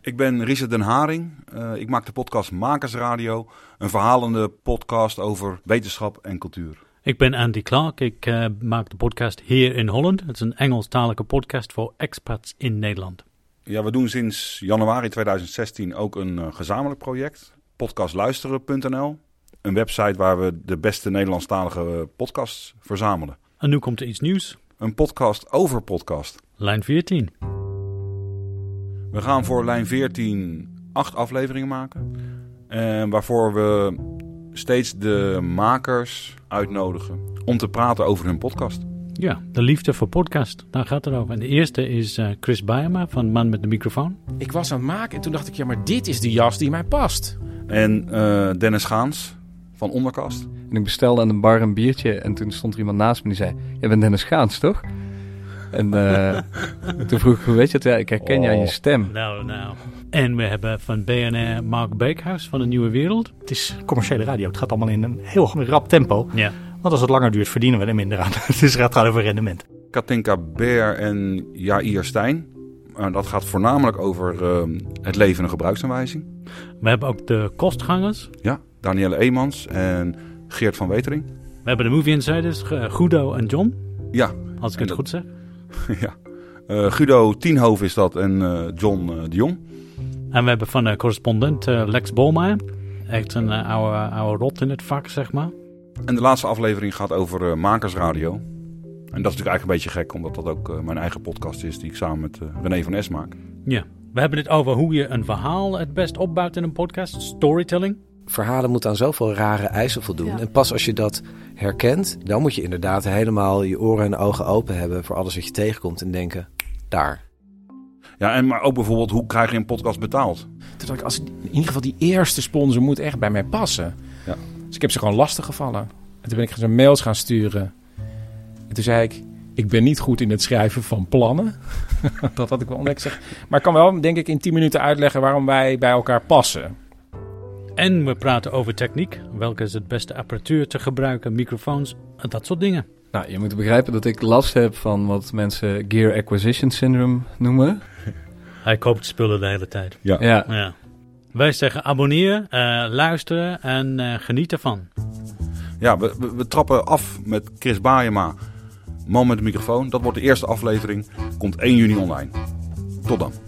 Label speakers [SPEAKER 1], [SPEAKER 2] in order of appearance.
[SPEAKER 1] Ik ben Richard Den Haring. Eh, ik maak de podcast Makersradio, een verhalende podcast over wetenschap en cultuur.
[SPEAKER 2] Ik ben Andy Clark. Ik eh, maak de podcast Here in Holland. Het is een Engelstalige podcast voor expats in Nederland.
[SPEAKER 1] Ja, we doen sinds januari 2016 ook een eh, gezamenlijk project, podcastluisteren.nl. Een website waar we de beste Nederlandstalige eh, podcasts verzamelen.
[SPEAKER 2] En nu komt er iets nieuws.
[SPEAKER 1] Een podcast over podcast.
[SPEAKER 2] Lijn 14.
[SPEAKER 1] We gaan voor lijn 14 acht afleveringen maken. En waarvoor we steeds de makers uitnodigen om te praten over hun podcast.
[SPEAKER 2] Ja, de liefde voor podcast. Daar gaat het over. En de eerste is eh, Chris Bijema van Man met de Microfoon.
[SPEAKER 3] Ik was aan het maken en toen dacht ik, ja, maar dit is de jas die mij past.
[SPEAKER 1] En eh, Dennis Gaans van Onderkast.
[SPEAKER 4] En ik bestelde aan de bar een biertje en toen stond er iemand naast me die zei... Jij bent Dennis Gaans, toch? En eh, toen vroeg ik, hoe weet je het? Ja, ik herken je aan je stem.
[SPEAKER 2] Nou, nou. En we hebben van BNR Mark Beekhuis van de Nieuwe Wereld.
[SPEAKER 5] Het is commerciële radio. Het gaat allemaal in een heel rap tempo.
[SPEAKER 2] Ja.
[SPEAKER 5] Want als het langer duurt, verdienen we er minder aan. Dus het gaat over rendement.
[SPEAKER 1] Katinka Beer en Jair Stijn. Eh, dat gaat voornamelijk over eh, het leven en gebruiksaanwijzing.
[SPEAKER 2] We hebben ook de Kostgangers.
[SPEAKER 1] Ja, Danielle Eemans en Geert van Wetering.
[SPEAKER 2] We hebben de Movie Insiders, eh, Guido en John.
[SPEAKER 1] Ja,
[SPEAKER 2] Als ik
[SPEAKER 1] En
[SPEAKER 2] het
[SPEAKER 1] dat-
[SPEAKER 2] goed zeg.
[SPEAKER 1] ja. Eh, Guido Tienhoven is dat en eh, John eh, de Jong.
[SPEAKER 2] En we hebben van eh, correspondent eh, Lex Bolmeijer. Echt een eh, oude, oude rot in het vak, zeg maar.
[SPEAKER 1] En de laatste aflevering gaat over eh, Makersradio. En dat is natuurlijk eigenlijk een beetje gek, omdat dat ook eh, mijn eigen podcast is die ik samen met eh, René van Es maak.
[SPEAKER 2] Ja. We hebben het over hoe je een verhaal het best opbouwt in een podcast. Storytelling.
[SPEAKER 6] verhalen moeten aan zoveel rare eisen voldoen.
[SPEAKER 7] Ja.
[SPEAKER 6] En pas als je dat herkent, dan moet je inderdaad helemaal je oren en ogen open hebben voor alles wat je tegenkomt en denken, daar.
[SPEAKER 1] Ja, en maar ook bijvoorbeeld, hoe krijg je een podcast betaald?
[SPEAKER 3] Toen dacht ik, als, in ieder geval die eerste sponsor moet echt bij mij passen.
[SPEAKER 1] Ja.
[SPEAKER 3] Dus ik heb ze gewoon lastig gevallen. En toen ben ik ze mails gaan sturen. En toen zei ik, ik ben niet goed in het schrijven van plannen. dat had ik wel ontdekt. Zeg. Maar ik kan wel, denk ik, in 10 minuten uitleggen waarom wij bij elkaar passen.
[SPEAKER 2] En we praten over techniek. Welke is het beste apparatuur te gebruiken, microfoons, en dat soort dingen.
[SPEAKER 4] Nou, je moet begrijpen dat ik last heb van wat mensen Gear Acquisition Syndrome noemen.
[SPEAKER 2] Hij koopt spullen de hele tijd.
[SPEAKER 1] Ja.
[SPEAKER 4] Ja,
[SPEAKER 2] Ja. Wij zeggen abonneer, eh, luisteren en eh, geniet ervan.
[SPEAKER 1] Ja, we, we, we trappen af met Chris Baayema, Man met de microfoon. Dat wordt de eerste aflevering, komt 1 juni online. Tot dan.